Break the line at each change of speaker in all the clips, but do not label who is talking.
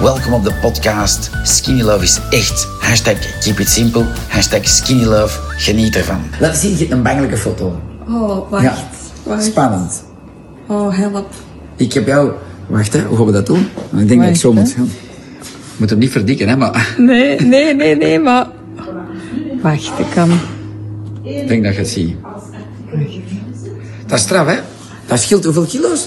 Welkom op de podcast. Skinny Love is echt. Hashtag keep it simple. Hashtag skinny love. Geniet ervan. Laat zien, je hebt een bangelijke foto.
Oh, wacht. wacht.
Spannend.
Oh, help.
Ik heb jou... Wacht, hè. Hoe gaan we dat doen? Ik denk dat ik
Wacht,
zo
hè.
moet gaan. Moet hem niet verdikken, hè. Maar
Nee, nee, nee, nee, maar... Wacht, ik kan...
ik denk dat je het ziet. Dat is straf, hè. Dat scheelt hoeveel kilo's?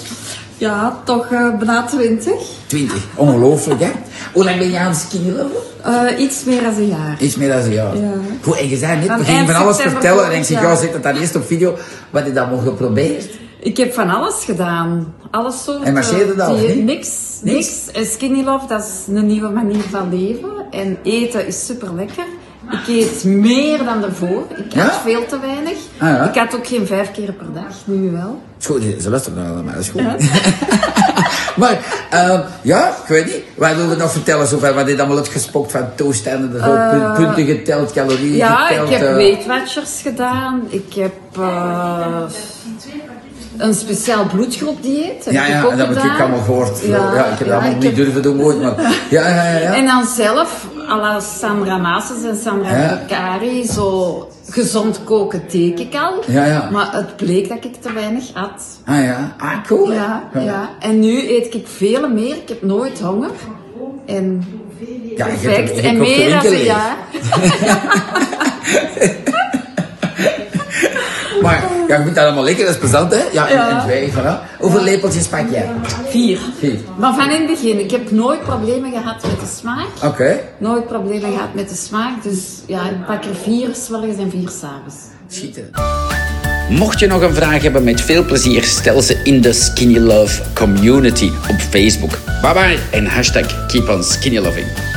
Ja, toch eh bijna 20.
20. Ongelooflijk, hè. Hoe lang ben je aan skinny love?
Eh, iets meer dan een jaar.
Iets meer dan een jaar.
Ja.
Goed, en je zei net,
Van
we gingen
eind
van alles
september
vertellen. En ik
volgend
zeg,
jaar.
ja, zet dat dan eerst op video. Wat je dan al geprobeerd?
Ik heb van alles gedaan. Alles soorten.
En marcheerde dat, of
die-
niet?
Niks,
Niks?
niks. En skinny love, dat is een nieuwe manier van leven. En eten is super lekker. Ik eet meer dan daarvoor. Ik
Ja?
had veel te weinig.
Ah, ja.
Ik had ook geen vijf keer per dag, nu wel.
Het is goed, ze luisteren naar allemaal, dat is goed. maar, ehm, ja, ik weet niet. Wat willen we nog nou vertellen zover? Wat je allemaal hebt gespokt van toestanden, zo, pun- punten geteld, calorieën
Eh, Ja,
geteld.
ik heb
eh,
Weight Watchers gedaan. Ik heb eh, een speciaal bloedgroep dieet.
Ja, ja,
ik ook
dat heb ik
gedaan.
ook allemaal gehoord. Ja, ik heb dat allemaal niet
heb-
durven doen ooit, maar... Ja, ja, ja. ja.
En dan zelf, à la Sandra Maasens en Sandra
Ja.
Bakari, zo gezond koken teken ik al.
Ja, ja.
Maar het bleek dat ik te weinig had.
Ah ja, ah cool. hè?
Ja, ja. En nu eet ik veel meer. Ik heb nooit honger. En
Ja, je hebt
perfect.
een gek
En
op de
meer dan
winkel
een
leeg.
jaar.
Maar ja, je vindt dat allemaal lekker, dat is plezant, hè? Ja, en-
Ja.
en twee, voilà. Hoeveel lepeltjes pak jij?
Vier.
Vier.
Maar van in het begin, ik heb nooit problemen gehad met de smaak.
Oké.
Nooit problemen gehad met de smaak. Dus ja, ik pak er vier s'morgens en vier s'avonds.
Schitterend. Mocht je nog een vraag hebben, met veel plezier stel ze in de Skinny Love Community op Facebook. Bye bye en hashtag keep on skinny loving.